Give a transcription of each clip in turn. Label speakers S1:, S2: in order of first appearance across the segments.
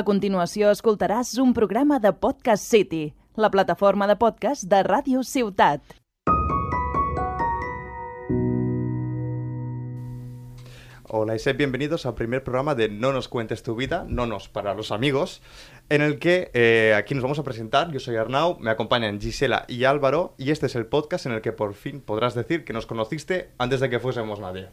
S1: A continuació escoltaràs un programa de Podcast City, la plataforma de podcast de Ràdio Ciutat.
S2: Hola y sed bienvenidos al primer programa de No nos cuentes tu vida, no nos para los amigos, en el que eh, aquí nos vamos a presentar. Yo soy Arnau, me acompañan Gisela y Álvaro y este es el podcast en el que por fin podrás decir que nos conociste antes de que fuésemos nadie.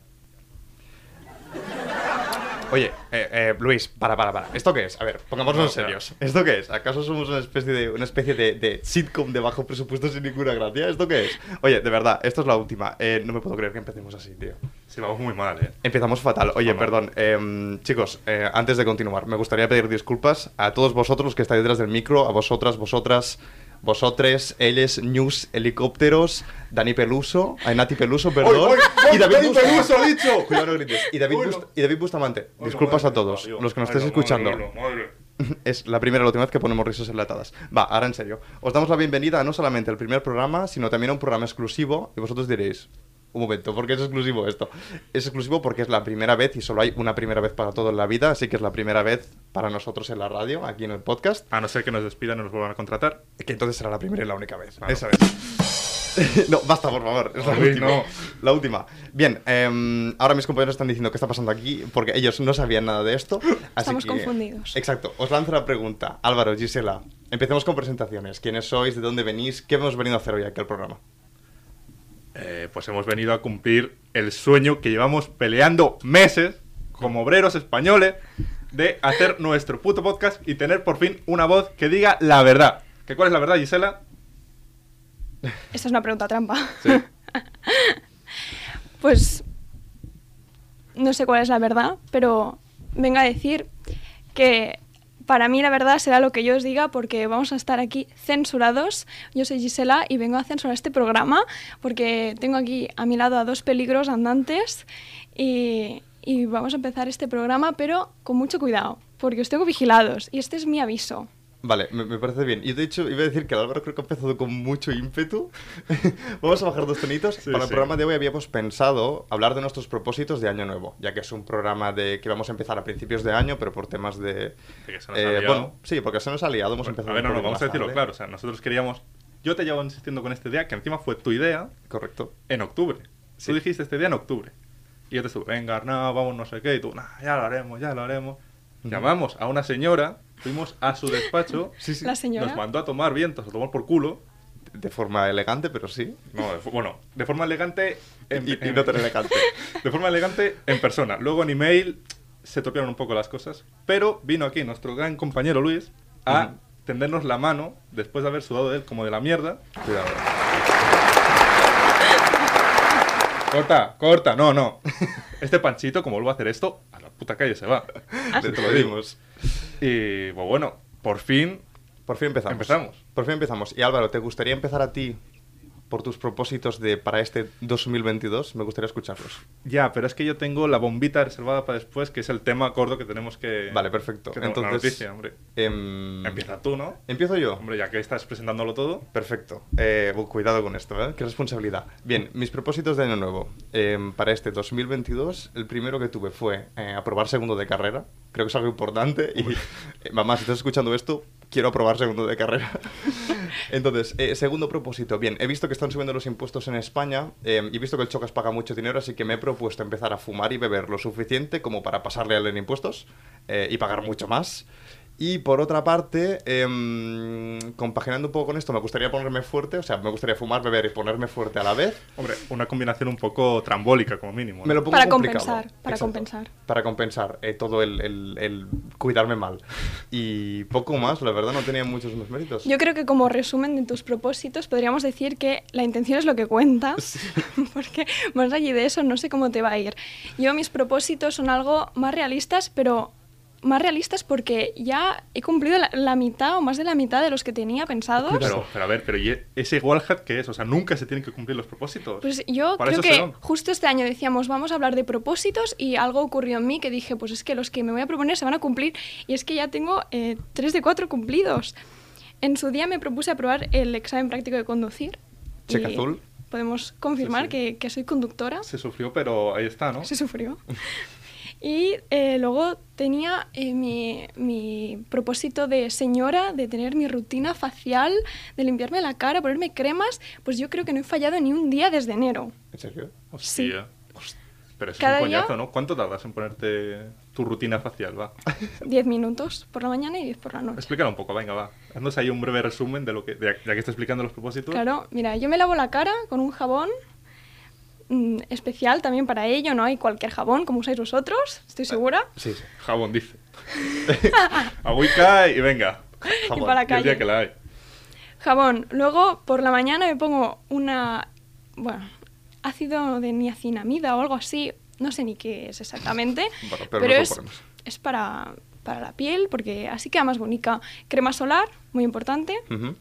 S2: Oye, eh, eh, Luis, para, para, para. ¿Esto qué es? A ver, pongámonos en serios. ¿Esto qué es? ¿Acaso somos una especie de una especie de, de sitcom de bajo presupuesto sin ninguna gracia? ¿Esto qué es? Oye, de verdad, esto es la última. Eh, no me puedo creer que empecemos así, tío.
S3: Sí, vamos muy mal, ¿eh?
S2: Empezamos fatal. Oye,
S3: Vamos.
S2: perdón. em, chicos, eh, antes de continuar, me gustaría pedir disculpas a todos vosotros los que estáis detrás del micro, a vosotras, vosotras, vosotres, ellos, news, helicópteros, Dani Peluso, a Nati Peluso, perdón.
S3: ¡Oy, oy, Dani
S2: Busta-
S3: Peluso, ha dicho!
S2: Cuidado, no grites. Y David,
S3: Uy, no.
S2: Bust- y David Bustamante. Disculpas a todos los que nos estéis
S3: estáis
S2: escuchando. Es la primera y la última vez que ponemos risas enlatadas. Va, ahora en serio. Os damos la bienvenida no solamente al primer programa, sino también a un programa exclusivo. Y vosotros diréis, un momento, ¿por qué es exclusivo esto? Es exclusivo porque es la primera vez y solo hay una primera vez para todo en la vida. Así que es la primera vez para nosotros en la radio, aquí en el podcast.
S3: A no ser que nos despidan y nos vuelvan a contratar.
S2: Que entonces será la primera y la única vez.
S3: Claro.
S2: Esa es. no, basta, por favor. Es la
S3: Uy,
S2: última.
S3: no.
S2: La última. Bien, em, ahora mis compañeros están diciendo qué está pasando aquí porque ellos no sabían nada de esto. así
S4: Estamos
S2: que-
S4: confundidos.
S2: Exacto. Os lanzo la pregunta. Álvaro, Gisela, empecemos con presentaciones. ¿Quiénes sois? ¿De dónde venís? ¿Qué hemos venido a hacer hoy aquí al programa?
S3: Eh, pues hemos venido a cumplir el sueño que llevamos peleando meses como obreros españoles de hacer nuestro puto podcast y tener por fin una voz que diga la verdad. ¿Que ¿Cuál es la verdad, Gisela?
S4: Esta es una pregunta trampa.
S3: Sí.
S4: Pues no sé cuál es la verdad, pero venga a decir que para mí la verdad será lo que yo os diga porque vamos a estar aquí censurados. Yo soy Gisela y vengo a censurar este programa porque tengo aquí a mi lado a dos peligros andantes y, y vamos a empezar este programa pero con mucho cuidado porque os tengo vigilados y este es mi aviso.
S2: Vale, me, me parece bien. Yo, de hecho, iba a decir que el Álvaro creo que ha empezado con mucho ímpetu. Vamos a bajar dos tonitos.
S3: Sí,
S2: Para el
S3: sí.
S2: programa de hoy habíamos pensado hablar de nuestros propósitos de Año Nuevo, ya que es un programa de que vamos a empezar a principios de año, pero por temas de...
S3: que se nos ha liado.
S2: Eh, bueno, sí, porque se nos ha liado, hemos empezado...
S3: a ver,
S2: un
S3: no, no,
S2: poquito
S3: vamos a
S2: más
S3: decirlo
S2: tarde.
S3: claro. O sea, nosotros queríamos... Yo te llevo insistiendo con esta idea, que encima fue tu idea,
S2: Correcto.
S3: en octubre.
S2: Sí.
S3: Tú dijiste este día en octubre. Y yo te estuve, venga, Arnau, vamos, no sé qué. Y tú, nah, ya lo haremos, ya lo haremos.
S2: Ujú.
S3: Llamamos a una señora, fuimos a su despacho.
S2: Sí, sí.
S4: La señora.
S3: Nos mandó a tomar vientos, a tomar por culo.
S2: De forma elegante, pero sí.
S3: No, de fo- bueno, de forma elegante. En,
S2: Y, y
S3: en-
S2: no tan elegante.
S3: De forma elegante en persona. Luego en email se topiaron un poco las cosas. Pero vino aquí nuestro gran compañero Luis a
S2: Ujú.
S3: tendernos la mano después de haber sudado de él como de la mierda.
S2: Cuidado.
S3: Corta, corta, no, no. Este panchito, como vuelvo a hacer esto, a la puta calle se va.
S2: Te lo dimos.
S3: Y pues bueno, por fin.
S2: Por fin empezamos.
S3: Empezamos.
S2: Por fin empezamos. Y Álvaro, ¿te gustaría empezar a ti por tus propósitos de para este 2022? Me gustaría escucharlos.
S3: Ya, pero es que yo tengo la bombita reservada para después, que es el tema gordo que tenemos que.
S2: Vale, perfecto.
S3: que tenemos- la
S2: Entonces,
S3: noticia, hombre.
S2: em,
S3: Empieza tú, ¿no?
S2: ¿Empiezo yo?
S3: Hombre, ya que estás presentándolo todo.
S2: Perfecto. Eh, bu- cuidado con esto, ¿eh? Qué responsabilidad. Bien, mis propósitos de año nuevo. Em, para este 2022, el primero que tuve fue eh, aprobar segundo de carrera. Creo que es algo importante. Y, eh, mamá, si estás escuchando esto, quiero aprobar segundo de carrera. Entonces, eh, segundo propósito. Bien, he visto que están subiendo los impuestos en España em, y he visto que el Chocas paga mucho dinero, así que me he propuesto empezar a fumar y beber lo suficiente como para pasarle al en impuestos eh, y pagar mucho más. Y por otra parte, em, compaginando un poco con esto, me gustaría ponerme fuerte, o sea, me gustaría fumar, beber y ponerme fuerte a la vez.
S3: Hombre, una combinación un poco trambólica, como mínimo. ¿no?
S2: Me lo pongo
S4: Para
S2: complicado.
S4: compensar, para compensar.
S2: Para compensar eh, todo el, el- el cuidarme mal. Y poco más, la verdad, no tenía muchos más méritos.
S4: Yo creo que como resumen de tus propósitos podríamos decir que la intención es lo que cuenta, porque más allá de eso no sé cómo te va a ir. Yo mis propósitos son algo más realistas, pero más realistas porque ya he cumplido la, la mitad o más de la mitad de los que tenía pensados.
S3: Pero, pero a ver, pero ¿y ese wallhack qué es? O sea, nunca se tienen que cumplir los propósitos.
S4: Pues yo
S3: Para
S4: creo
S3: eso
S4: que
S3: serán.
S4: justo este año decíamos, vamos a hablar de propósitos y algo ocurrió en mí que dije, pues es que los que me voy a proponer se van a cumplir y es que ya tengo eh, tres de cuatro cumplidos. En su día me propuse aprobar el examen práctico de conducir.
S2: Cheque
S4: y
S2: azul.
S4: Podemos confirmar
S3: Sí, sí.
S4: Que, que soy conductora.
S3: Se sufrió, pero ahí está, ¿no?
S4: Se sufrió. Y eh, luego tenía eh, mi, mi propósito de señora, de tener mi rutina facial, de limpiarme la cara, ponerme cremas. Pues yo creo que no he fallado ni un día desde enero.
S2: ¿En serio?
S3: Hostia. Host- Pero es
S4: Cada
S3: un coñazo,
S4: día-
S3: ¿no? ¿Cuánto tardas en ponerte tu rutina facial? Va.
S4: 10 minutos por la mañana y 10 por la noche.
S3: Explícalo un poco, venga, va. Haznos ahí un breve resumen de lo que. de- ya que está explicando los propósitos.
S4: Claro, mira, yo me lavo la cara con un jabón mm, especial también para ello, no hay cualquier jabón como usáis vosotros, estoy segura.
S2: Sí, sí.
S3: Jabón, dice. Agüica y venga.
S4: Y
S2: Jabón.
S4: para la
S3: Y El día
S4: calle.
S3: que la hay.
S4: Jabón. Luego por la mañana me pongo una. Bueno, ácido de niacinamida o algo así. No sé ni qué es exactamente.
S2: Bueno, pero
S4: pero
S2: nos lo
S4: es,
S2: ponemos.
S4: es para, para la piel, porque así queda más bonita. Crema solar, muy importante.
S2: Ujú.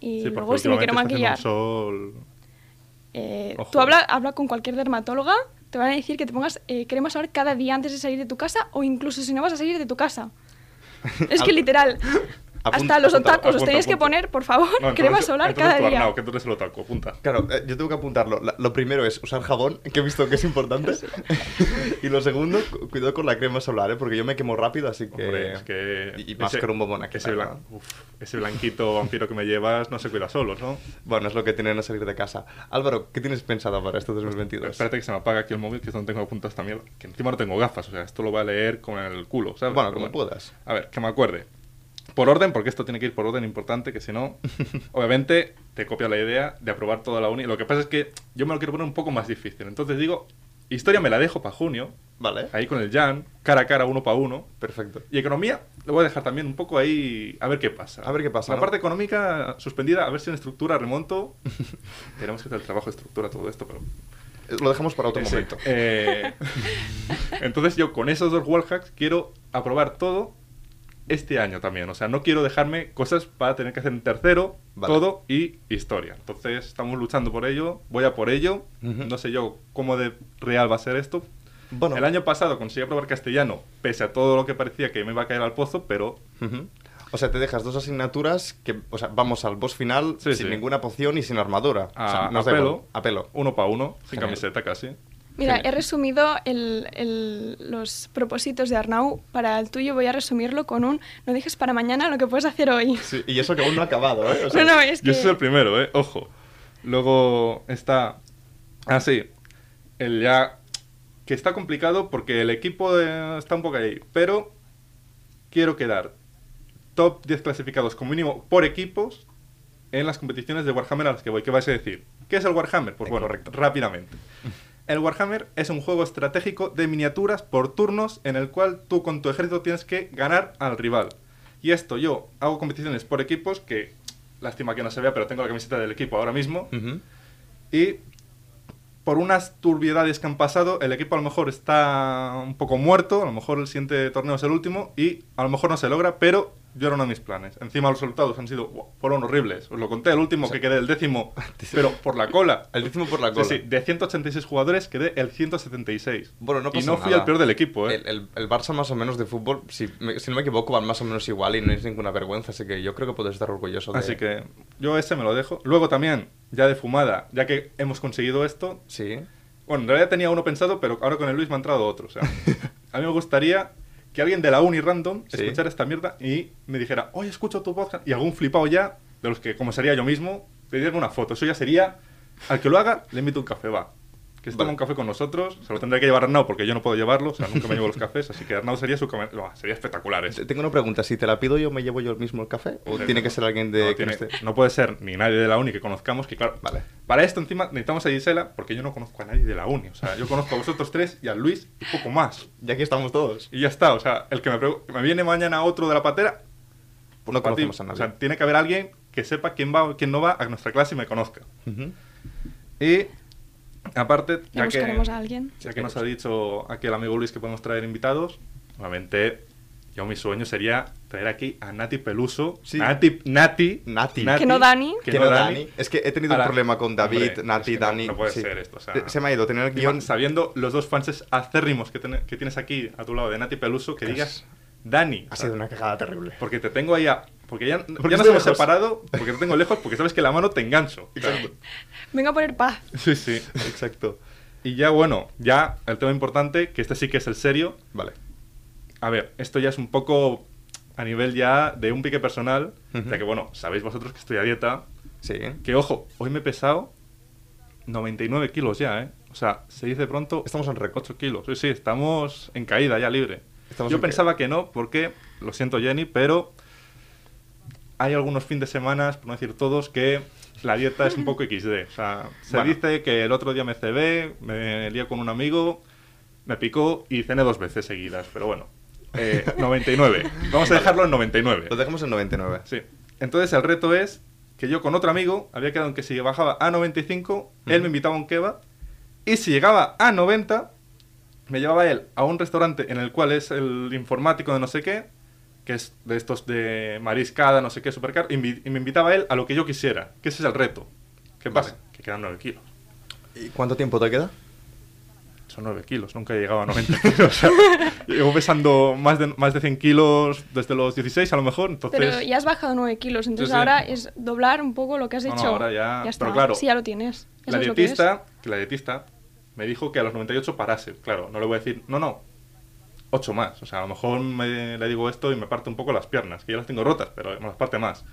S4: Y
S3: Sí, porque
S4: luego si me quiero
S3: últimamente está
S4: maquillar.
S3: haciendo un sol.
S4: eh,
S3: Ojo.
S4: tú habla, habla con cualquier dermatóloga, te van a decir que te pongas eh, crema solar cada día antes de salir de tu casa o incluso si no vas a salir de tu casa. Es que
S2: Al-
S4: literal.
S2: Apunta,
S4: hasta los
S2: apunta,
S4: otakus os
S3: apunta,
S4: tenéis que
S3: apunta.
S4: poner, por favor,
S3: No, entonces-
S4: crema solar
S3: entonces
S4: cada
S3: tú,
S4: día.
S3: Arnau, que tú eres el otaku, apunta.
S2: Claro, eh, yo tengo que apuntarlo. La- lo primero es usar jabón, que he visto que es importante. y lo segundo, cu- cuidado con la crema solar, ¿eh? porque yo me quemo rápido, así que...
S3: Hombre, es que
S2: Y, y más con un bombón aquí.
S3: Ese,
S2: claro,
S3: blan-
S2: ¿no?
S3: uf, ese blanquito vampiro que me llevas no se cuida solo, ¿no?
S2: Bueno, es lo que tienen a salir de casa. Álvaro, ¿qué tienes pensado para este 2022?
S3: Pues, Espérate que se me apaga aquí el móvil, que es donde tengo apuntado esta mierda. Que encima no tengo gafas, o sea, esto lo voy a leer con el culo, ¿sabes?
S2: Bueno,
S3: Pero
S2: como puedas.
S3: A ver, que me acuerde. Por orden, porque esto tiene que ir por orden importante, que si no, obviamente te copia la idea de aprobar toda la uni. Lo que pasa es que yo me lo quiero poner un poco más difícil. Entonces digo, historia me la dejo para junio,
S2: Vale,
S3: ahí con el Jan, cara a cara, uno para uno.
S2: perfecto.
S3: Y economía, lo voy a dejar también un poco ahí, a ver qué pasa.
S2: A ver qué pasa,
S3: La
S2: ¿no?
S3: parte económica suspendida, a ver si en estructura remonto. Tenemos que hacer el trabajo de estructura, todo esto, pero.
S2: Eh, Lo dejamos para otro
S3: Sí.
S2: momento.
S3: Eh, Entonces, yo con esos dos wallhacks quiero aprobar todo este año también. O sea, no quiero dejarme cosas para tener que hacer en tercero,
S2: Vale.
S3: todo y historia. Entonces, estamos luchando por ello, voy a por ello.
S2: Ujú.
S3: No sé yo cómo de real va a ser esto,
S2: Bueno,
S3: el año pasado conseguí aprobar castellano, pese a todo lo que parecía que me iba a caer al pozo, pero
S2: Ujú. O sea, te dejas dos asignaturas que, o sea, vamos al boss final
S3: Sí,
S2: sin
S3: sí.
S2: ninguna poción y sin armadura. o sea,
S3: a,
S2: nos
S3: a
S2: da
S3: pelo,
S2: igual. a pelo.
S3: uno para uno, sin
S2: Genial.
S3: camiseta casi.
S4: Mira,
S2: Genial.
S4: he resumido el- el- los propósitos de Arnau. Para el tuyo voy a resumirlo con un no dejes para mañana lo que puedes hacer hoy.
S2: Sí, y eso que aún no ha acabado, ¿eh? O sea,
S4: no, no, es
S3: Yo
S4: que...
S3: soy el primero, ¿eh? Ojo. Luego está... Ah, sí. El ya... Que está complicado porque el equipo eh, está un poco ahí, pero quiero quedar top 10 clasificados como mínimo por equipos en las competiciones de Warhammer a las que voy. ¿Qué vais a decir? ¿Qué es el Warhammer? Pues bueno,
S2: Correcto.
S3: rápidamente. El Warhammer es un juego estratégico de miniaturas por turnos en el cual tú con tu ejército tienes que ganar al rival. Y esto yo hago competiciones por equipos que, lástima que no se vea, pero tengo la camiseta del equipo ahora mismo.
S2: Ujú.
S3: Y por unas turbiedades que han pasado, el equipo a lo mejor está un poco muerto, a lo mejor el siguiente torneo es el último y a lo mejor no se logra, pero yo era uno de mis planes. Encima los resultados han sido, wow, fueron horribles. Os lo conté, el último que quedé, el décimo, pero por la cola.
S2: El décimo por la cola.
S3: Sí, sí, de 186 jugadores quedé el 176.
S2: Bueno, no
S3: y
S2: pasa
S3: no fui
S2: nada.
S3: el peor del equipo, ¿eh?
S2: El, el- el Barça más o menos de fútbol, si, me- si no me equivoco, van más o menos igual y no es ninguna vergüenza, así que yo creo que puedes estar orgulloso de...
S3: Así que yo ese me lo dejo. Luego también, ya de fumada, ya que hemos conseguido esto,
S2: Sí.
S3: Bueno, en realidad tenía uno pensado, pero ahora con el Luis me ha entrado otro. O sea, a mí me gustaría que alguien de la uni random
S2: Sí.
S3: escuchara esta mierda y me dijera, oye, escucho tu podcast. Y algún flipado ya, de los que, como sería yo mismo, pedirme una foto. Eso ya sería, al que lo haga, le invito un café, va. Que se tome
S2: Vale.
S3: un café con nosotros. Se lo tendré que llevar Arnau porque yo no puedo llevarlo. O sea, nunca me llevo los cafés. Así que Arnau sería su... come- Buah, sería espectacular eso.
S2: Te- Tengo una pregunta, si te la pido yo, ¿me llevo yo el mismo el café? ¿O tiene que ser alguien de...
S3: No,
S2: que no
S3: tiene-
S2: esté?
S3: no puede ser ni nadie de la uni que conozcamos, que claro.
S2: Vale.
S3: Para esto, encima, necesitamos a Gisela, porque yo no conozco a nadie de la uni. O sea, yo conozco a vosotros tres y a Luis y poco más.
S2: Y aquí estamos todos.
S3: Y ya está. O sea, el que me, pregu- me viene mañana otro de la patera.
S2: no
S3: para ti.
S2: conocemos a nadie.
S3: O sea, tiene que haber alguien que sepa quién va o quién no va a nuestra clase y me conozca.
S2: Ujú.
S3: Y aparte, ya
S4: Ya
S3: que,
S4: buscaremos a alguien.
S3: ya que nos ha dicho aquí el amigo Luis que podemos traer invitados, obviamente yo mi sueño sería traer aquí a Nati Peluso.
S2: Sí.
S3: Nati, Nati,
S2: Nati.
S4: Que no Dani.
S3: Que
S2: Que
S3: no
S2: no,
S3: Dani.
S2: Dani. Es que he tenido
S3: Ahora,
S2: un problema con David,
S3: hombre,
S2: Nati,
S3: es que no-
S2: Dani.
S3: no puede ser esto, o sea-
S2: Eh, se me ha ido, tener el guión.
S3: Encima, sabiendo los dos fanses acérrimos que, ten- que tienes aquí a tu lado de Nati Peluso, que
S2: Pues,
S3: digas Dani.
S2: Ha sido una cagada terrible.
S3: Porque te tengo ahí a- Porque ya,
S2: Porque
S3: ya nos
S2: estoy lejos.
S3: hemos separado, porque te tengo lejos, porque sabes que la mano te engancho.
S2: Exacto.
S4: Vengo a poner paz.
S3: Sí, sí.
S2: Exacto.
S3: Y ya, bueno, ya el tema importante, que este sí que es el serio.
S2: Vale.
S3: A ver, esto ya es un poco a nivel ya de un pique personal,
S2: Ujú.
S3: ya que, bueno, sabéis vosotros que estoy a dieta,
S2: Sí.
S3: que, ojo, hoy me he pesado 99 kilos ya, ¿eh? O sea, se dice pronto...
S2: Estamos en récord.
S3: 8 kilos. Sí, sí, estamos en caída ya libre.
S2: Estamos
S3: Yo
S2: en
S3: pensaba que no, porque, lo siento Jenny, pero hay algunos fines de semana, por no decir todos, que la dieta es un poco XD. O sea, se
S2: Bueno.
S3: dice que el otro día me cebé, me lié con un amigo, me picó y cené dos veces seguidas, pero bueno. eh, 99. Vamos a dejarlo en 99.
S2: Lo dejamos en 99.
S3: Sí. Entonces el reto es que yo con otro amigo había quedado en que si bajaba a 95, él me invitaba a un kebab. Y si llegaba a 90, me llevaba él a un restaurante en el cual es el informático de no sé qué, que es de estos de mariscada, no sé qué, supercar, y me y me invitaba él a lo que yo quisiera. Que ese es el reto. ¿Qué pasa?
S2: Vale.
S3: Que quedan 9 kilos.
S2: ¿Y cuánto tiempo te queda?
S3: Son 9 kilos, nunca he llegado a 90 kilos. o sea, llevo pesando más de, más de 100 kilos desde los 16 a lo mejor, entonces...
S4: Pero ya has bajado 9 kilos, entonces
S3: sí.
S4: ahora es doblar un poco lo que has
S3: No, no,
S4: hecho.
S3: ahora ya- pero
S4: está.
S3: claro,
S4: Sí, ya lo tienes.
S3: la
S4: Ya sabes lo que es.
S3: dietista, que la dietista me dijo que a los 98 parase. Claro, no le voy a decir, no, no, 8 más. O sea, a lo mejor me- le digo esto y me parte un poco las piernas, que ya las tengo rotas, pero me las parte más.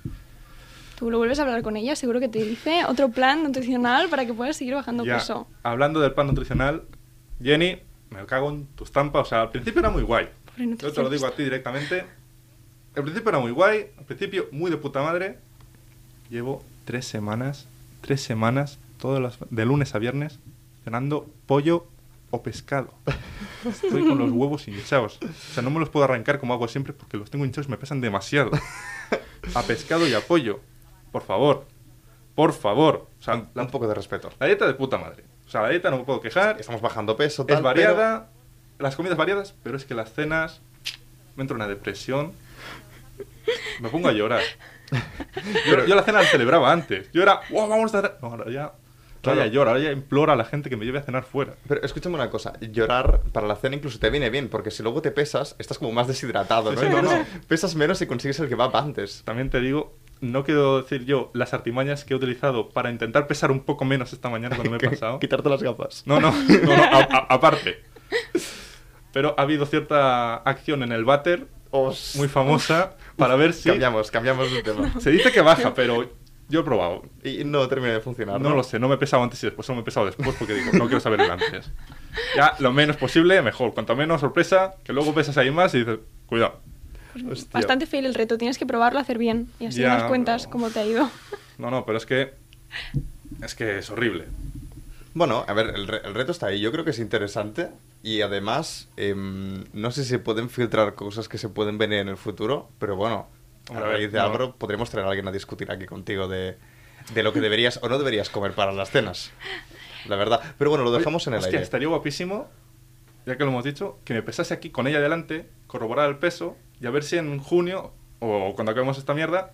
S4: Tú lo vuelves a hablar con ella, seguro que te dice otro plan nutricional para que puedas seguir bajando
S3: Ya,
S4: peso.
S3: Hablando del plan nutricional, Jenny, me cago en tu estampa. O sea, al principio era muy guay.
S4: Pobre
S3: Yo te lo digo a
S4: nutricionista.
S3: ti directamente. Al principio era muy guay, al principio muy de puta madre. Llevo tres semanas, tres semanas, todas las, de lunes a viernes, cenando pollo o pescado. Estoy con los huevos hinchados. O sea, no me los puedo arrancar como hago siempre porque los tengo hinchados y me pesan demasiado. A pescado y a pollo. Por favor. Por favor. O sea,
S2: un,
S3: la
S2: un poco de respeto.
S3: la dieta de puta madre. O sea, la dieta no me puedo quejar. Es
S2: Estamos bajando peso, tal,
S3: variada, las comidas variadas, pero es que las cenas me entra una depresión. Me pongo a llorar. Yo, yo la cena la celebraba antes. Yo era, wow, vamos a cenar. No, ahora ya,
S2: Claro.
S3: ahora ya llora, ahora ya implora a la gente que me lleve a cenar fuera.
S2: Pero, pero escúchame una cosa, llorar para la cena incluso te viene bien, porque si luego te pesas, estás como más deshidratado,
S3: Sí,
S2: ¿no?
S3: sí,
S2: Y
S3: no,
S2: tienes- Pesas menos y consigues el que va antes.
S3: También te digo, no quiero decir yo las artimañas que he utilizado para intentar pesar un poco menos esta mañana cuando me he
S2: Que-
S3: pasado.
S2: Quitarte las gafas.
S3: No, no, no, no, a- a- aparte. Pero ha habido cierta acción en el váter
S2: Os-
S3: muy famosa para ver si...
S2: Cambiamos, cambiamos de tema.
S3: Se dice que baja, pero yo he probado.
S2: Y no termina de funcionar.
S3: No lo sé, no me he pesado antes y después, solo me he pesado después porque digo, no quiero saber el antes. Ya, lo menos posible, mejor. Cuanto menos sorpresa, que luego pesas ahí más y dices, cuidado.
S2: Hostia.
S4: Bastante fail el reto, tienes que probarlo a hacer bien y así
S3: Ya,
S4: nos cuentas
S3: pero-
S4: cómo te ha ido.
S3: No, no, pero es que... Es que es horrible.
S2: Bueno, a ver, el, re- el reto está ahí. Yo creo que es interesante. Y además, em, no sé si se pueden filtrar cosas que se pueden venir en el futuro, pero bueno,
S3: Hombre,
S2: a
S3: a ver,
S2: raíz de
S3: no.
S2: Abro podremos traer a alguien a discutir aquí contigo de, de lo que deberías o no deberías comer para las cenas. La verdad. Pero bueno, lo dejamos en el
S3: Hostia,
S2: aire.
S3: estaría guapísimo, ya que lo hemos dicho, que me pesase aquí con ella delante, corroborar el peso y a ver si en junio, o cuando acabemos esta mierda,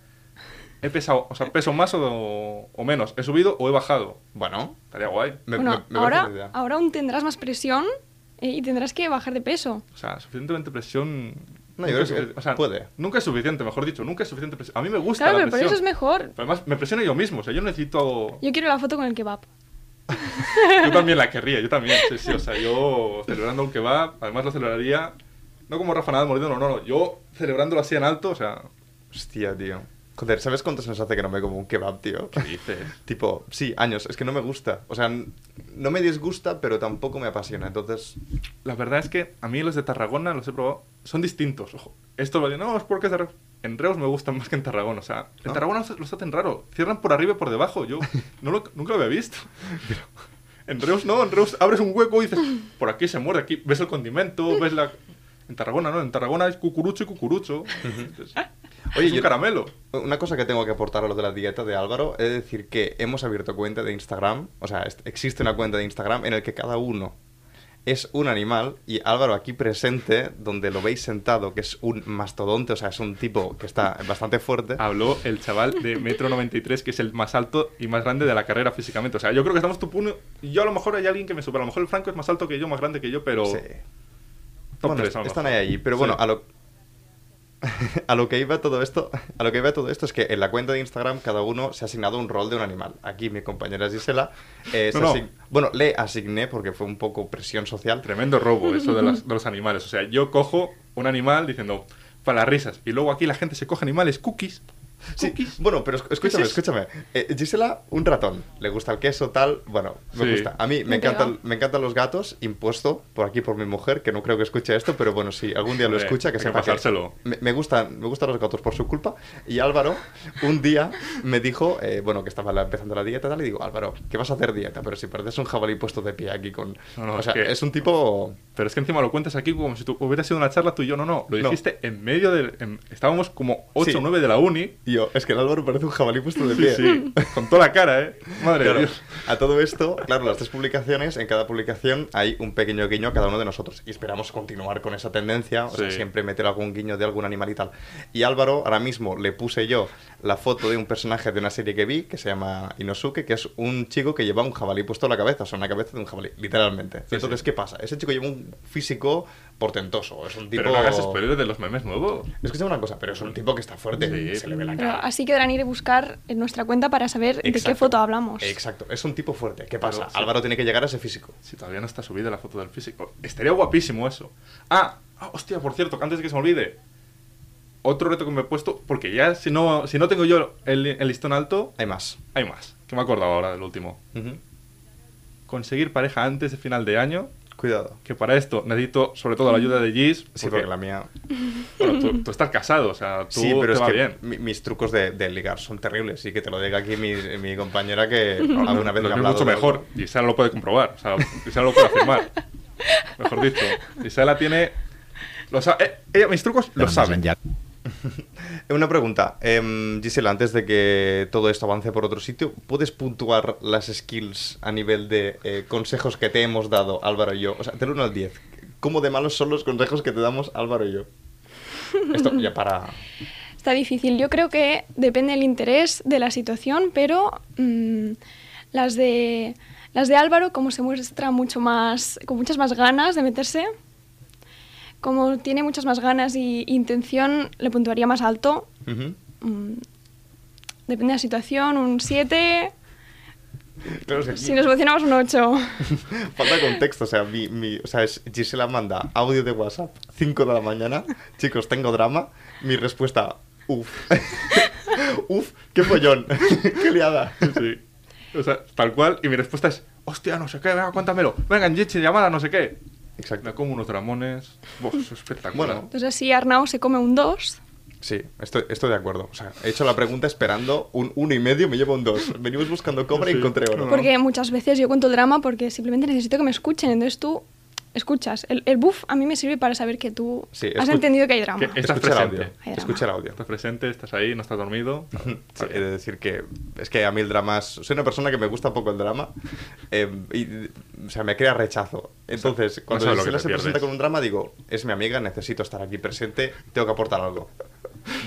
S3: he pesado, o sea, peso más o, o menos. He subido o he bajado.
S2: Bueno,
S3: Estaría guay.
S2: me, me-
S4: bueno,
S2: me
S4: ahora,
S2: parece una idea.
S4: ahora aún tendrás más presión eh, y tendrás que bajar de peso.
S3: O sea, suficientemente presión.
S2: No, yo
S3: nunca
S2: creo que
S3: es- o sea,
S2: puede.
S3: Nunca es suficiente, mejor dicho, nunca es suficiente presión. A mí me gusta
S4: Claro,
S3: la
S4: pero por
S3: presión.
S4: eso es mejor.
S3: Pero además, me presiona yo mismo, o sea, yo necesito.
S4: Yo quiero la foto con el kebab.
S3: Yo también la querría, yo también. Sí, sí, o sea, yo celebrando un kebab, además lo celebraría. No como Rafa Nadal mordiendo, no, no, no. Yo celebrándolo así en alto, o sea.
S2: Hostia, tío. Joder, ¿sabes cuántos nos hace que no me como un kebab, tío?
S3: ¿Qué dices?
S2: Tipo, sí, años. Es que no me gusta. O sea, n- no me disgusta, pero tampoco me apasiona. Entonces,
S3: La verdad es que a mí los de Tarragona los he probado, son distintos. Ojo, esto vale, no, es porque es de Reus. en Reus me gustan más que en Tarragona. O sea, en
S2: ¿No?
S3: Tarragona los, los hacen raro, cierran por arriba y por debajo. Yo no lo- nunca lo había visto. Pero en Reus no, en Reus abres un hueco y dices, por aquí se muerde, aquí ves el condimento, ves la. En Tarragona no, en Tarragona es cucurucho y cucurucho. Entonces, Oye, es un
S2: yo-
S3: caramelo.
S2: Una cosa que tengo que aportar a lo de la dieta de Álvaro es decir que hemos abierto cuenta de Instagram, o sea, est- existe una cuenta de Instagram en la que cada uno es un animal y Álvaro aquí presente, donde lo veis sentado, que es un mastodonte, o sea, es un tipo que está bastante fuerte.
S3: Habló el chaval de metro 93, que es el más alto y más grande de la carrera físicamente. O sea, yo creo que estamos tu puño. Yo a lo mejor hay alguien que me supera. A lo mejor el Franco es más alto que yo, más grande que yo, pero.
S2: Sí.
S3: Top
S2: Bueno,
S3: tres, a lo
S2: están ahí
S3: mejor.
S2: allí, pero bueno,
S3: Sí.
S2: a lo... a lo que iba todo esto, a lo que iba todo esto es que en la cuenta de Instagram cada uno se ha asignado un rol de un animal. Aquí mi compañera Gisela, eh, se
S3: No, no.
S2: asign- bueno, le asigné porque fue un poco presión social.
S3: Tremendo robo eso de, las- de los animales. O sea, yo cojo un animal diciendo, para las risas. Y luego aquí la gente se coge animales cookies.
S2: Sí,
S3: cookies.
S2: bueno, pero esc- escúchame,
S3: ¿Qué es
S2: escúchame. Eh, Gisela, un ratón. Le gusta el queso, tal. Bueno, me
S3: Sí.
S2: gusta. A mí me
S4: Me pega.
S2: encantan, me encantan los gatos, impuesto por aquí por mi mujer, que no creo que escuche esto, pero bueno, si algún día lo
S3: Hombre,
S2: escucha, que
S3: hay que
S2: sepa
S3: pasárselo.
S2: me, me gustan, me gustan los gatos por su culpa. Y Álvaro, un día me dijo, eh, bueno, que estaba la- empezando la dieta, tal, y digo, Álvaro, ¿qué vas a hacer dieta? Pero si perdes un jabalí puesto de pie aquí con.
S3: No, no,
S2: o
S3: es
S2: sea,
S3: que-
S2: es un tipo.
S3: Pero es que encima lo cuentas aquí como si tú hubiera sido una charla tú y yo. No, no. Lo
S2: No.
S3: dijiste en medio de... en- estábamos como 8
S2: Sí.
S3: o 9 de la uni.
S2: y Yo, es que el Álvaro parece un jabalí puesto de
S3: Sí,
S2: pie.
S3: sí. Con toda la cara, ¿eh? Madre de
S2: Claro,
S3: Dios.
S2: a todo esto, claro, las tres publicaciones, en cada publicación hay un pequeño guiño a cada uno de nosotros. Y esperamos continuar con esa tendencia, o sea,
S3: Sí.
S2: siempre meter algún guiño de algún animal y tal. Y Álvaro, ahora mismo le puse yo la foto de un personaje de una serie que vi, que se llama Inosuke, que es un chico que lleva un jabalí puesto en la cabeza, o sea, una cabeza de un jabalí, literalmente.
S3: Sí,
S2: Entonces,
S3: sí.
S2: ¿qué pasa? Ese chico lleva un físico portentoso, es un tipo...
S3: Pero no hagas spoiler de los memes nuevos.
S2: Escucha una cosa, pero es un tipo que está fuerte,
S3: Sí.
S2: se le ve la
S4: Pero
S2: cara.
S4: así quedarán ir a buscar en nuestra cuenta para saber de qué
S2: Exacto.
S4: foto hablamos.
S2: Exacto, es un tipo fuerte. ¿Qué pasa?
S3: Pero, sí.
S2: Álvaro tiene que llegar a ese físico.
S3: Si todavía no está subida la foto del físico. Estaría guapísimo eso. Ah, ah, hostia, por cierto, que antes de que se me olvide. Otro reto que me he puesto, porque ya si no, si no tengo yo el, el listón alto,
S2: Hay más.
S3: hay más. Que me he acordado ahora del último. Conseguir pareja antes de final de año.
S2: Cuidado.
S3: Que para esto necesito sobre todo la ayuda de Gis.
S2: Sí, porque la mía.
S3: bueno, tú, tú estás casado, o sea, tú
S2: sí, pero
S3: te
S2: es
S3: va
S2: que
S3: bien.
S2: mi- mis trucos de, de ligar son terribles. Y que te lo diga aquí mi, mi compañera que
S3: No,
S2: alguna vez
S3: lo
S2: me ha
S3: mío es
S2: hablado
S3: mucho
S2: de-
S3: mejor. Y Sara lo puede comprobar. O sea, y Sara lo puede afirmar. Mejor dicho. Y Sara tiene. Lo sa- eh, ella mis trucos lo sabe.
S5: Ya.
S2: Eh, Una pregunta. Em, Gisela, antes de que todo esto avance por otro sitio, ¿puedes puntuar las skills a nivel de eh, consejos que te hemos dado Álvaro y yo? O sea, del 1 al 10. ¿Cómo de malos son los consejos que te damos Álvaro y yo? Esto ya para.
S4: Está difícil. Yo creo que depende del interés de la situación, pero mm, las de las de Álvaro, como se muestra mucho más, con muchas más ganas de meterse, como tiene muchas más ganas y intención, le puntuaría más alto.
S2: Ujú.
S4: Mm, depende de la situación, un 7.
S2: Claro, es que-
S4: Si nos emocionamos, un 8.
S2: Falta contexto, o sea, mi, mi- o sea, es- Gisela manda audio de WhatsApp, 5 de la mañana, chicos, tengo drama, mi respuesta, uff, uff, qué pollón, qué liada.
S3: Sí. O sea, tal cual. Y mi respuesta es: Hostia, no sé qué, venga, cuéntamelo. Venga, Jitsi, llamada, no sé qué. Me
S2: Exacto.
S3: como unos dramones. Buah, eso es espectacular.
S2: Bueno.
S4: Entonces, si Arnau se come un 2,
S2: Sí, estoy, estoy de acuerdo. O sea, he hecho la pregunta esperando un uno y medio, me llevo un 2. Venimos buscando cobre y
S3: Sí.
S2: encontré oro.
S4: Porque muchas veces yo cuento el drama porque simplemente necesito que me escuchen. Entonces tú escuchas. El, el buff a mí me sirve para saber que tú
S2: Sí,
S4: has
S2: escu-
S4: entendido que hay drama.
S3: Que-
S2: Escucha
S3: Estás
S2: el
S3: presente.
S2: audio.
S4: Hay drama.
S2: Escucha el audio.
S3: Estás presente, estás ahí, no estás dormido.
S2: Sí, he de decir que es que a mí el drama es, soy una persona que me gusta poco el drama eh, y o sea me crea rechazo entonces cuando
S3: sabes lo que
S2: Gisela
S3: te
S2: se presenta
S3: pierdes.
S2: con un drama digo es mi amiga necesito estar aquí presente tengo que aportar algo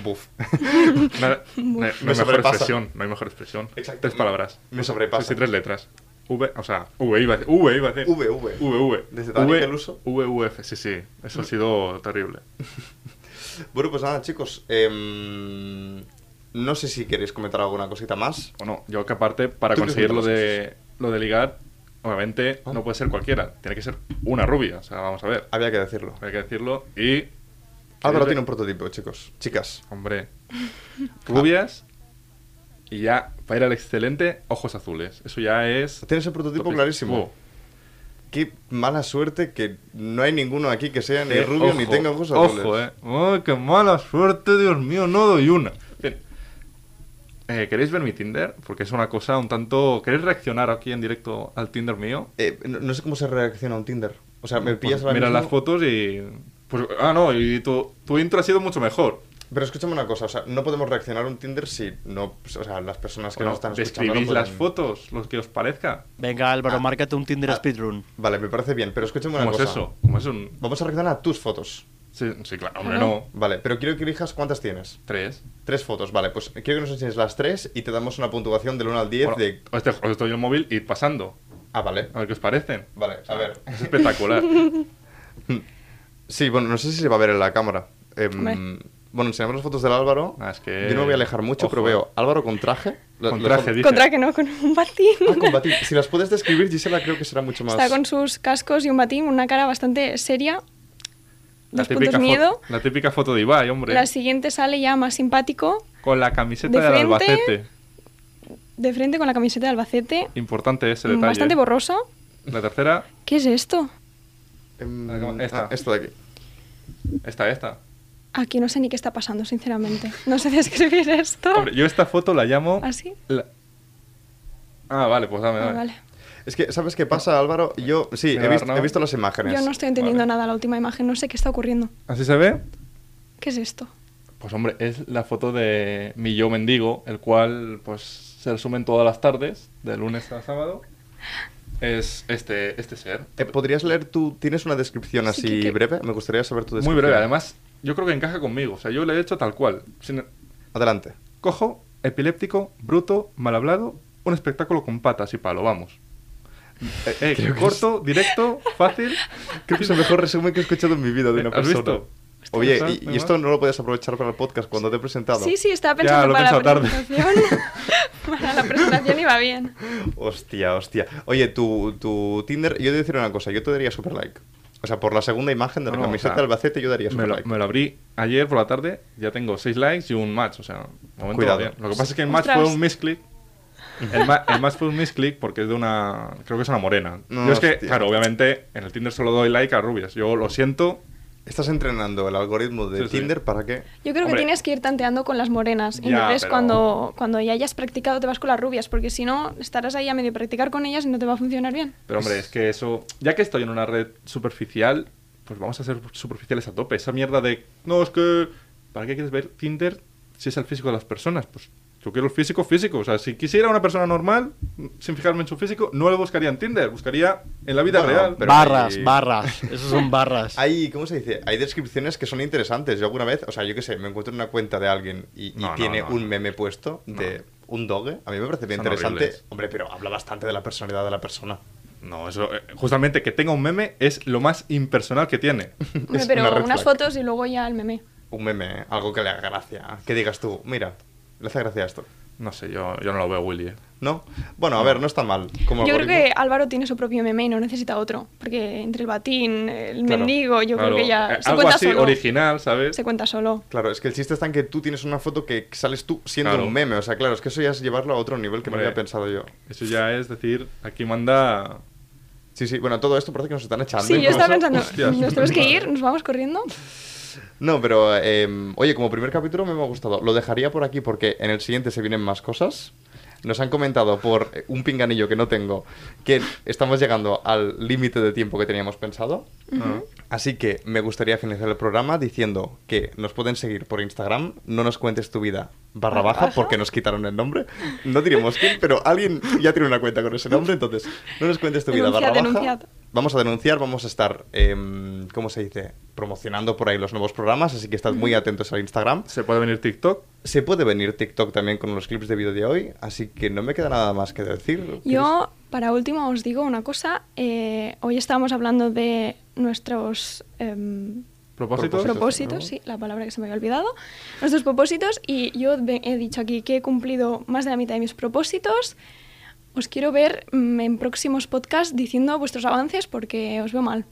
S2: buf
S3: Nada- no, hay- no hay mejor
S2: sobrepasa.
S3: expresión. No hay mejor expresión.
S2: Exacto.
S3: Tres palabras.
S2: Me sobrepasa.
S3: Sí, sí, tres letras. V, o sea, V iba a decir. V iba a decir.
S2: V, V.
S3: V, V.
S2: Desde Dani
S3: V,
S2: Peluso.
S3: VVF, sí, sí. Eso ha sido terrible.
S2: bueno pues nada chicos em, no sé si queréis comentar alguna cosita más
S3: Bueno, yo que aparte, para
S2: Tú
S3: conseguir lo
S2: pregunta,
S3: de, lo de ligar, obviamente
S2: Ah.
S3: no puede ser cualquiera. Tiene que ser una rubia. O sea, vamos a ver.
S2: había que decirlo
S3: Hay que decirlo. Y.
S2: Álvaro Ah, tiene un prototipo chicos chicas
S3: Hombre. Rubias. Y ya, para ir al excelente, ojos azules. Eso ya es.
S2: tienes el prototipo
S3: Tope.
S2: clarísimo
S3: Oh.
S2: qué mala suerte que no hay ninguno aquí que sea ni
S3: Eh,
S2: rubio ni
S3: ojo,
S2: tenga ojos azules
S3: Ojo, eh. Ay, qué mala suerte, Dios mío, no doy una. Bien. Eh, ¿Queréis ver mi Tinder? Porque es una cosa un tanto... ¿Queréis reaccionar aquí en directo al Tinder mío?
S2: Eh, no, no sé cómo se reacciona un Tinder. O sea, me pillas
S3: Pues
S2: ahora
S3: mira
S2: mismo-
S3: las fotos y... Pues, ah, no, y tu, tu intro ha sido mucho mejor.
S2: Pero escúchame una cosa, o sea, no podemos reaccionar a un Tinder si no, pues, o sea, las personas que
S3: Bueno,
S2: nos están escuchando.
S3: describís
S2: no
S3: las
S2: pueden-
S3: fotos, los que os parezca.
S5: Venga, Álvaro, márcate un Tinder
S2: ah.
S5: speedrun.
S2: Vale, me parece bien, pero escúchame una
S3: ¿Cómo es
S2: cosa.
S3: eso? ¿Cómo es un...?
S2: Vamos a reaccionar a tus fotos.
S3: Sí, sí, claro, hombre,
S4: Claro.
S3: no.
S2: Vale, pero quiero que elijas cuántas tienes.
S3: Tres.
S2: Tres fotos, vale, pues quiero que nos enseñes las tres y te damos una puntuación del 1 al 10
S3: Bueno,
S2: de...
S3: os, dejo- os doy el móvil y pasando.
S2: Ah, vale.
S3: A ver qué os parecen.
S2: Vale, a ver.
S3: Es espectacular.
S2: Sí, bueno, no sé si se va a ver en la cámara. Em,
S4: Hombre.
S2: Bueno, enseñamos las fotos del Álvaro.
S3: Ah, es que-
S2: Yo no me voy a alejar mucho, pero
S3: Ojo, eh.
S2: veo Álvaro con traje. La-
S3: Con
S2: la
S3: traje,
S2: fo-
S3: dice.
S4: Contra que no, con un batín.
S2: Ah, con batín. Si las puedes describir, Gisela, creo que será mucho más.
S4: Está con sus cascos y un batín, una cara bastante seria.
S3: La
S4: Dos puntos
S3: típica, fo-
S4: miedo.
S3: la típica foto de Ibai, hombre.
S4: La siguiente sale ya más simpático,
S3: Con la camiseta
S4: de
S3: del
S4: frente.
S3: Albacete.
S4: de frente con la camiseta de Albacete,
S3: Importante ese
S4: mm,
S3: detalle. ¿eh?
S4: bastante borrosa.
S3: La tercera,
S4: ¿Qué es esto?
S2: Em,
S3: Esta.
S2: ah, esto de aquí.
S3: esta, esta.
S4: Aquí no sé ni qué está pasando, sinceramente. No sé describir esto.
S3: Hombre, yo esta foto la llamo...
S4: ¿Así?
S3: la- Ah, vale, pues dame,
S4: Ah,
S3: dame.
S4: vale.
S2: Es que, ¿sabes qué pasa, Álvaro? Yo, sí,
S3: Mira,
S2: he visto,
S3: Arnau.
S2: he visto las imágenes.
S4: Yo no estoy entendiendo
S3: Vale.
S4: nada la última imagen, no sé qué está ocurriendo.
S3: ¿Así se ve?
S4: ¿Qué es esto?
S3: Pues hombre, es la foto de mi yo mendigo, el cual pues se resumen todas las tardes, de lunes a sábado. Es este, este ser.
S2: Eh, ¿Podrías leer tú? ¿Tienes una descripción
S4: Sí,
S2: así
S4: que- que-
S2: breve? Me gustaría saber tu
S3: Muy
S2: descripción.
S3: breve, además, yo creo que encaja conmigo. O sea, yo le he hecho tal cual. Sin-
S2: Adelante.
S3: Cojo, epiléptico, bruto, mal hablado, un espectáculo con patas y palo, vamos. Eh, eh,
S2: creo que
S3: corto, directo, fácil.
S2: Creo que es el mejor resumen que he escuchado en mi vida de una
S3: ¿Has
S2: persona.
S3: visto?
S2: Oye,
S3: Ostras,
S2: y- y,
S3: además.
S2: esto no lo puedes aprovechar para el podcast cuando te he presentado.
S4: Sí, sí, estaba
S3: Ya,
S4: pensando
S3: lo he
S4: para la
S3: pensado tarde.
S4: presentación. para la presentación iba bien.
S2: Hostia, hostia. Oye, tu, tu Tinder, yo te decir una cosa, yo te daría super like. O sea, por la segunda imagen de la
S3: No, no,
S2: camiseta
S3: o sea,
S2: de Albacete yo daría
S3: Me
S2: super
S3: lo,
S2: like.
S3: me lo abrí ayer por la tarde, ya tengo 6 likes y un match, o sea, de momento
S2: Cuidado.
S3: va bien. Lo que pasa es que el match
S4: Ostras.
S3: fue un misclick. El, ma- el match fue un misclick porque es de una. Creo que es una morena.
S2: No,
S3: yo es que,
S2: hostia.
S3: claro, obviamente en el Tinder solo doy like a rubias. Yo lo siento.
S2: Estás entrenando el algoritmo de
S3: Sí, sí.
S2: Tinder para que...
S4: Yo creo
S3: Hombre.
S4: que tienes que ir tanteando con las morenas. y
S3: Ya,
S4: entonces
S3: pero-
S4: cuando, cuando ya hayas practicado te vas con las rubias, porque si no estarás ahí a medio practicar con ellas y no te va a funcionar bien.
S3: Pero hombre, es que eso. Ya que estoy en una red superficial, pues vamos a ser superficiales a tope. Esa mierda de. No, es que. ¿Para qué quieres ver Tinder si es el físico de las personas? Pues yo quiero el físico físico. O sea, si quisiera una persona normal, sin fijarme en su físico, no lo buscaría en Tinder. Buscaría en la vida
S2: Bueno,
S3: real.
S2: pero-
S5: barras,
S2: ahí-
S5: barras. Esos son barras.
S2: Hay, ¿cómo se dice? Hay descripciones que son interesantes. Yo alguna vez, o sea, yo qué sé, me encuentro en una cuenta de alguien y, y
S3: No, no,
S2: tiene
S3: no,
S2: un
S3: no.
S2: meme puesto de
S3: No.
S2: un doge. A mí me parece bien
S3: Son
S2: interesante.
S3: horribles.
S2: Hombre, pero habla bastante de la personalidad de la persona.
S3: No, eso. eh, Justamente que tenga un meme es lo más impersonal que tiene.
S4: Hombre,
S2: Es
S4: pero
S2: una red
S4: unas
S2: flag.
S4: fotos y luego ya el meme.
S2: Un meme, ¿eh? algo que le haga gracia. Que digas tú, mira, le hace gracia esto.
S3: No sé, yo, yo no lo veo, Willy. eh.
S2: ¿No? Bueno, a ver, no está mal. Como
S4: Yo creo
S2: algoritmo.
S4: que Álvaro tiene su propio meme y no necesita otro, porque entre el batín, el
S2: Claro,
S4: mendigo, yo
S3: Claro,
S4: creo que ya
S3: eh,
S4: se
S3: Algo
S4: cuenta
S3: así
S4: solo.
S3: original, ¿sabes?
S4: Se cuenta solo.
S2: Claro, es que el chiste está en que tú tienes una foto que sales tú siendo
S3: Claro.
S2: un meme. O sea, claro, es que eso ya es llevarlo a otro nivel que
S3: Hombre.
S2: me había pensado yo.
S3: Eso ya es decir, aquí manda.
S2: Sí, sí, bueno, todo esto parece que nos están echando.
S4: Sí, yo
S2: incluso.
S4: estaba pensando,
S3: Hostias.
S4: nos tenemos que ir,
S3: Vale.
S4: nos vamos corriendo.
S2: No, pero eh, oye, como primer capítulo me ha gustado. Lo dejaría por aquí porque en el siguiente se vienen más cosas. Nos han comentado por eh, un pinganillo que no tengo que estamos llegando al límite de tiempo que teníamos pensado.
S3: Ah.
S2: Así que me gustaría finalizar el programa diciendo que nos pueden seguir por Instagram, no nos cuentes tu vida barra
S4: Barra
S2: baja
S4: baja.
S2: porque nos quitaron el nombre. No diremos quién, pero alguien ya tiene una cuenta con ese nombre, entonces no nos cuentes tu vida barra baja.
S4: Denunciad, denunciad.
S2: Vamos a denunciar, vamos a estar, em, ¿cómo se dice? Promocionando por ahí los nuevos programas, así que estad muy atentos al Instagram.
S3: Se puede venir TikTok.
S2: Se puede venir TikTok también con los clips de vídeo de hoy, así que no me queda nada más que decir.
S4: Yo, para último, os digo una cosa. eh, hoy estábamos hablando de nuestros em,
S3: Propósito.
S2: Propósito.
S4: propósitos,
S2: ¿no?
S4: sí, la palabra que se me había olvidado, nuestros propósitos, y yo ve- he dicho aquí que he cumplido más de la mitad de mis propósitos. Os quiero ver mm, en próximos podcasts diciendo vuestros avances porque os veo mal.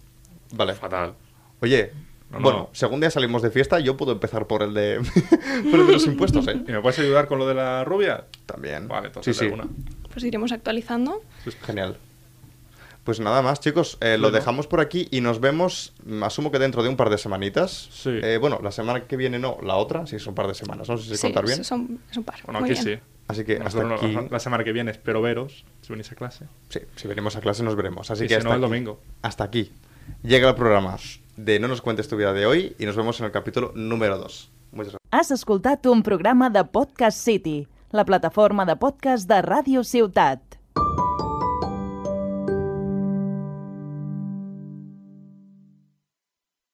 S2: Vale.
S3: Fatal.
S2: Oye,
S3: No,
S2: bueno,
S3: no.
S2: según día salimos de fiesta, yo puedo empezar por el de, por el de los impuestos, ¿eh?
S3: ¿Y me puedes ayudar con lo de la rubia?
S2: También.
S3: Vale, entonces
S2: sí,
S3: de
S2: sí.
S3: una.
S4: Pues iremos actualizando.
S2: Genial. Pues nada más, chicos, eh, lo
S3: Bueno.
S2: dejamos por aquí y nos vemos, mm, asumo que dentro de un par de semanitas.
S3: Sí.
S2: Eh, bueno, la semana que viene no, la otra, sí, son un par de semanas, no sé si
S4: Sí,
S2: contar bien.
S4: Son, es un par.
S3: Bueno,
S4: Muy
S3: aquí
S4: bien.
S3: sí.
S2: Así que hasta
S3: Nosotros no-
S2: aquí-
S3: La semana que viene espero veros si venís a clase.
S2: Sí, si venimos a clase nos veremos. Así
S3: Y
S2: que
S3: si
S2: hasta
S3: no, el
S2: aquí-
S3: domingo.
S2: Hasta aquí. Llega el programa de No nos cuentes tu vida de hoy y nos vemos en el capítulo número 2. Muchas gracias.
S1: Has escoltat un programa de Podcast City, la plataforma de podcast de Ràdio Ciutat.